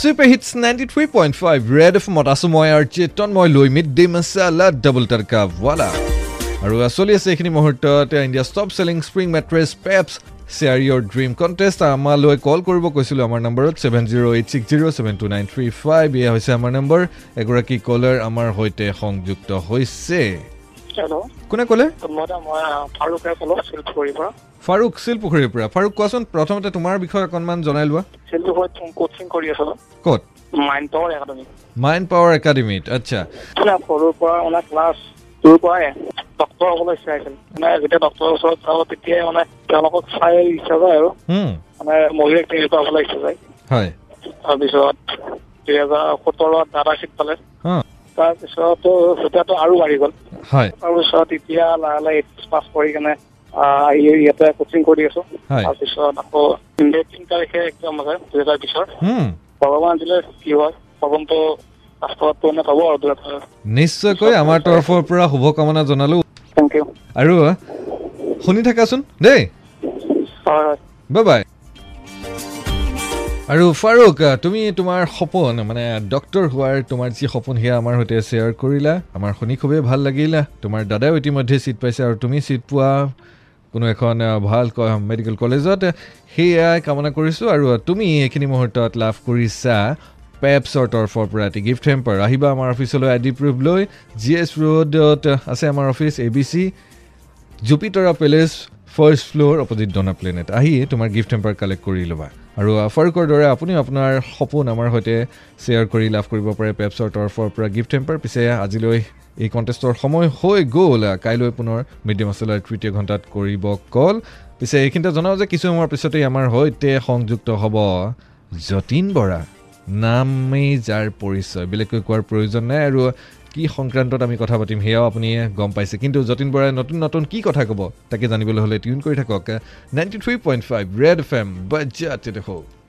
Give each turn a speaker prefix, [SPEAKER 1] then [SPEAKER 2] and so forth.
[SPEAKER 1] Super hits ninety three point five red এফমত আছোঁ মই আৰু চেতন মই লৈ mid day masala double tadka wala আৰু চলি আছে এইখিনি মুহূৰ্তত India stop selling spring mattress Peps share your dream contest আমালৈ কল কৰিব কৈছিলোঁ আমাৰ নম্বৰত seven zero' eight six zero' seven two nine three five এয়া হৈছে আমাৰ নম্বৰ এগৰাকী কলাৰ আমাৰ সৈতে সংযুক্ত হৈছে
[SPEAKER 2] হেল্ল'
[SPEAKER 1] কোনে ক'লে
[SPEAKER 2] গুড মৰ্ণিং মই ফাৰুকে ক'লোঁ শিলপুখুৰীৰ পৰা
[SPEAKER 1] ফাৰুক শিলপুখুৰীৰ পৰা ফাৰুক কোৱাচোন প্ৰথমতে তোমাৰ বিষয়ে অকণমান জনাই লোৱা
[SPEAKER 2] শিলপুখুৰীত কোচিং কৰি আছিলোঁ
[SPEAKER 1] ক'ত
[SPEAKER 2] mind power academy
[SPEAKER 1] mind power একাডেমীত আচ্ছা
[SPEAKER 2] মানে সৰুৰ পৰা মানে ক্লাছ টুৰ পৰাই ডক্তৰ হ'বলৈ ইচ্ছা আছিল মানে যেতিয়া ডক্তৰৰ ওচৰত যাওঁ তেতিয়াই মানে তেওঁলোকক চাই ইচ্ছা যায় আৰু
[SPEAKER 1] হুম,
[SPEAKER 2] মানে মহিলাক তেনেকুৱা হ'বলৈ ইচ্ছা যায়
[SPEAKER 1] হয়
[SPEAKER 2] তাৰপিছত দুহেজাৰ সোতৰত দাদাশীত পালে
[SPEAKER 1] অ,
[SPEAKER 2] তাৰপিছতো তেতিয়াতো আৰু বাঢ়ি গ'ল
[SPEAKER 1] হয়
[SPEAKER 2] তাৰপিছত এতিয়া লাহে লাহে এইচ পাছ কৰি কেনে আহ, ই- ইয়াতে কোচিং কৰি আছো
[SPEAKER 1] হয়।
[SPEAKER 2] তাৰপিছত আকৌ ইণ্ডিয়াত তিনি তাৰিখে একদম আছে দুহেজাৰ বিছৰ
[SPEAKER 1] হুম,
[SPEAKER 2] ভগৱান দিলে কি হয় ভগৱানটো ৰাস্তাটো মানে পাব আৰু দুহেজাৰ
[SPEAKER 1] নিশ্চয়কৈ আমাৰ তৰফৰ পৰা শুভকামনা জনালো
[SPEAKER 2] থেংক ইউ
[SPEAKER 1] আৰু শুনি থাকাচোন দেই
[SPEAKER 2] হয় হয়
[SPEAKER 1] বাই বাই আৰু ফাৰুক আহ, তুমি তোমাৰ সপোন মানে ডক্তৰ হোৱাৰ তোমাৰ যি সপোন সেয়া আমাৰ সৈতে শ্বেয়াৰ কৰিলা আমাৰ শুনি খুবেই ভাল লাগিলা তোমাৰ দাদাও ইতিমধ্যে ছিট পাইছে আৰু তুমি ছিট পোৱা কোনো এখন আহ, ভাল ক- মেডিকেল কলেজত সেয়া কামনা কৰিছোঁ আৰু আহ, তুমি এইখিনি মুহূৰ্তত লাভ কৰিছা পেপছৰ তৰফৰ পৰা এটি গিফ্ট হেম্পাৰ আহিবা আমাৰ অফিচলৈ আই ডি প্ৰুফ লৈ জি এছ ৰোডত আহ, আছে আমাৰ অফিচ এ বি চি জুপিটৰা palace first floor opposite Dona planet আহি তোমাৰ গিফ্ট টেম্পাৰ কালেক্ট কৰি ল'বা আৰু ফাৰুকৰ দৰে আপুনিও আপোনাৰ সপোন আমাৰ সৈতে শ্বেয়াৰ কৰি লাভ কৰিব পাৰে পেপছৰ তৰফৰ পৰা গিফ্ট টেম্পাৰ পিছে আজিলৈ এই কণ্টেষ্টৰ সময় হৈ গ'ল কাইলৈ পুনৰ মিড ডে মাচেলাৰ তৃতীয় ঘণ্টাত কৰিব কল পিছে এইখিনিতে জনাওঁ যে কিছু সময়ৰ পিছতেই আমাৰ সৈতে সংযুক্ত হ'ব যতীন বৰা নামেই যাৰ পৰিচয় বেলেগকৈ কোৱাৰ প্ৰয়োজন নাই আৰু কি সংক্ৰান্তত আমি কথা পাতিম সেয়াও আপুনি গম পাইছে কিন্তু যতীন বৰাই নতুন নতুন কি কথা ক'ব তাকে জানিবলৈ হ'লে টিউন কৰি থাকক ninety three point five red F M বাজ্যাত হওক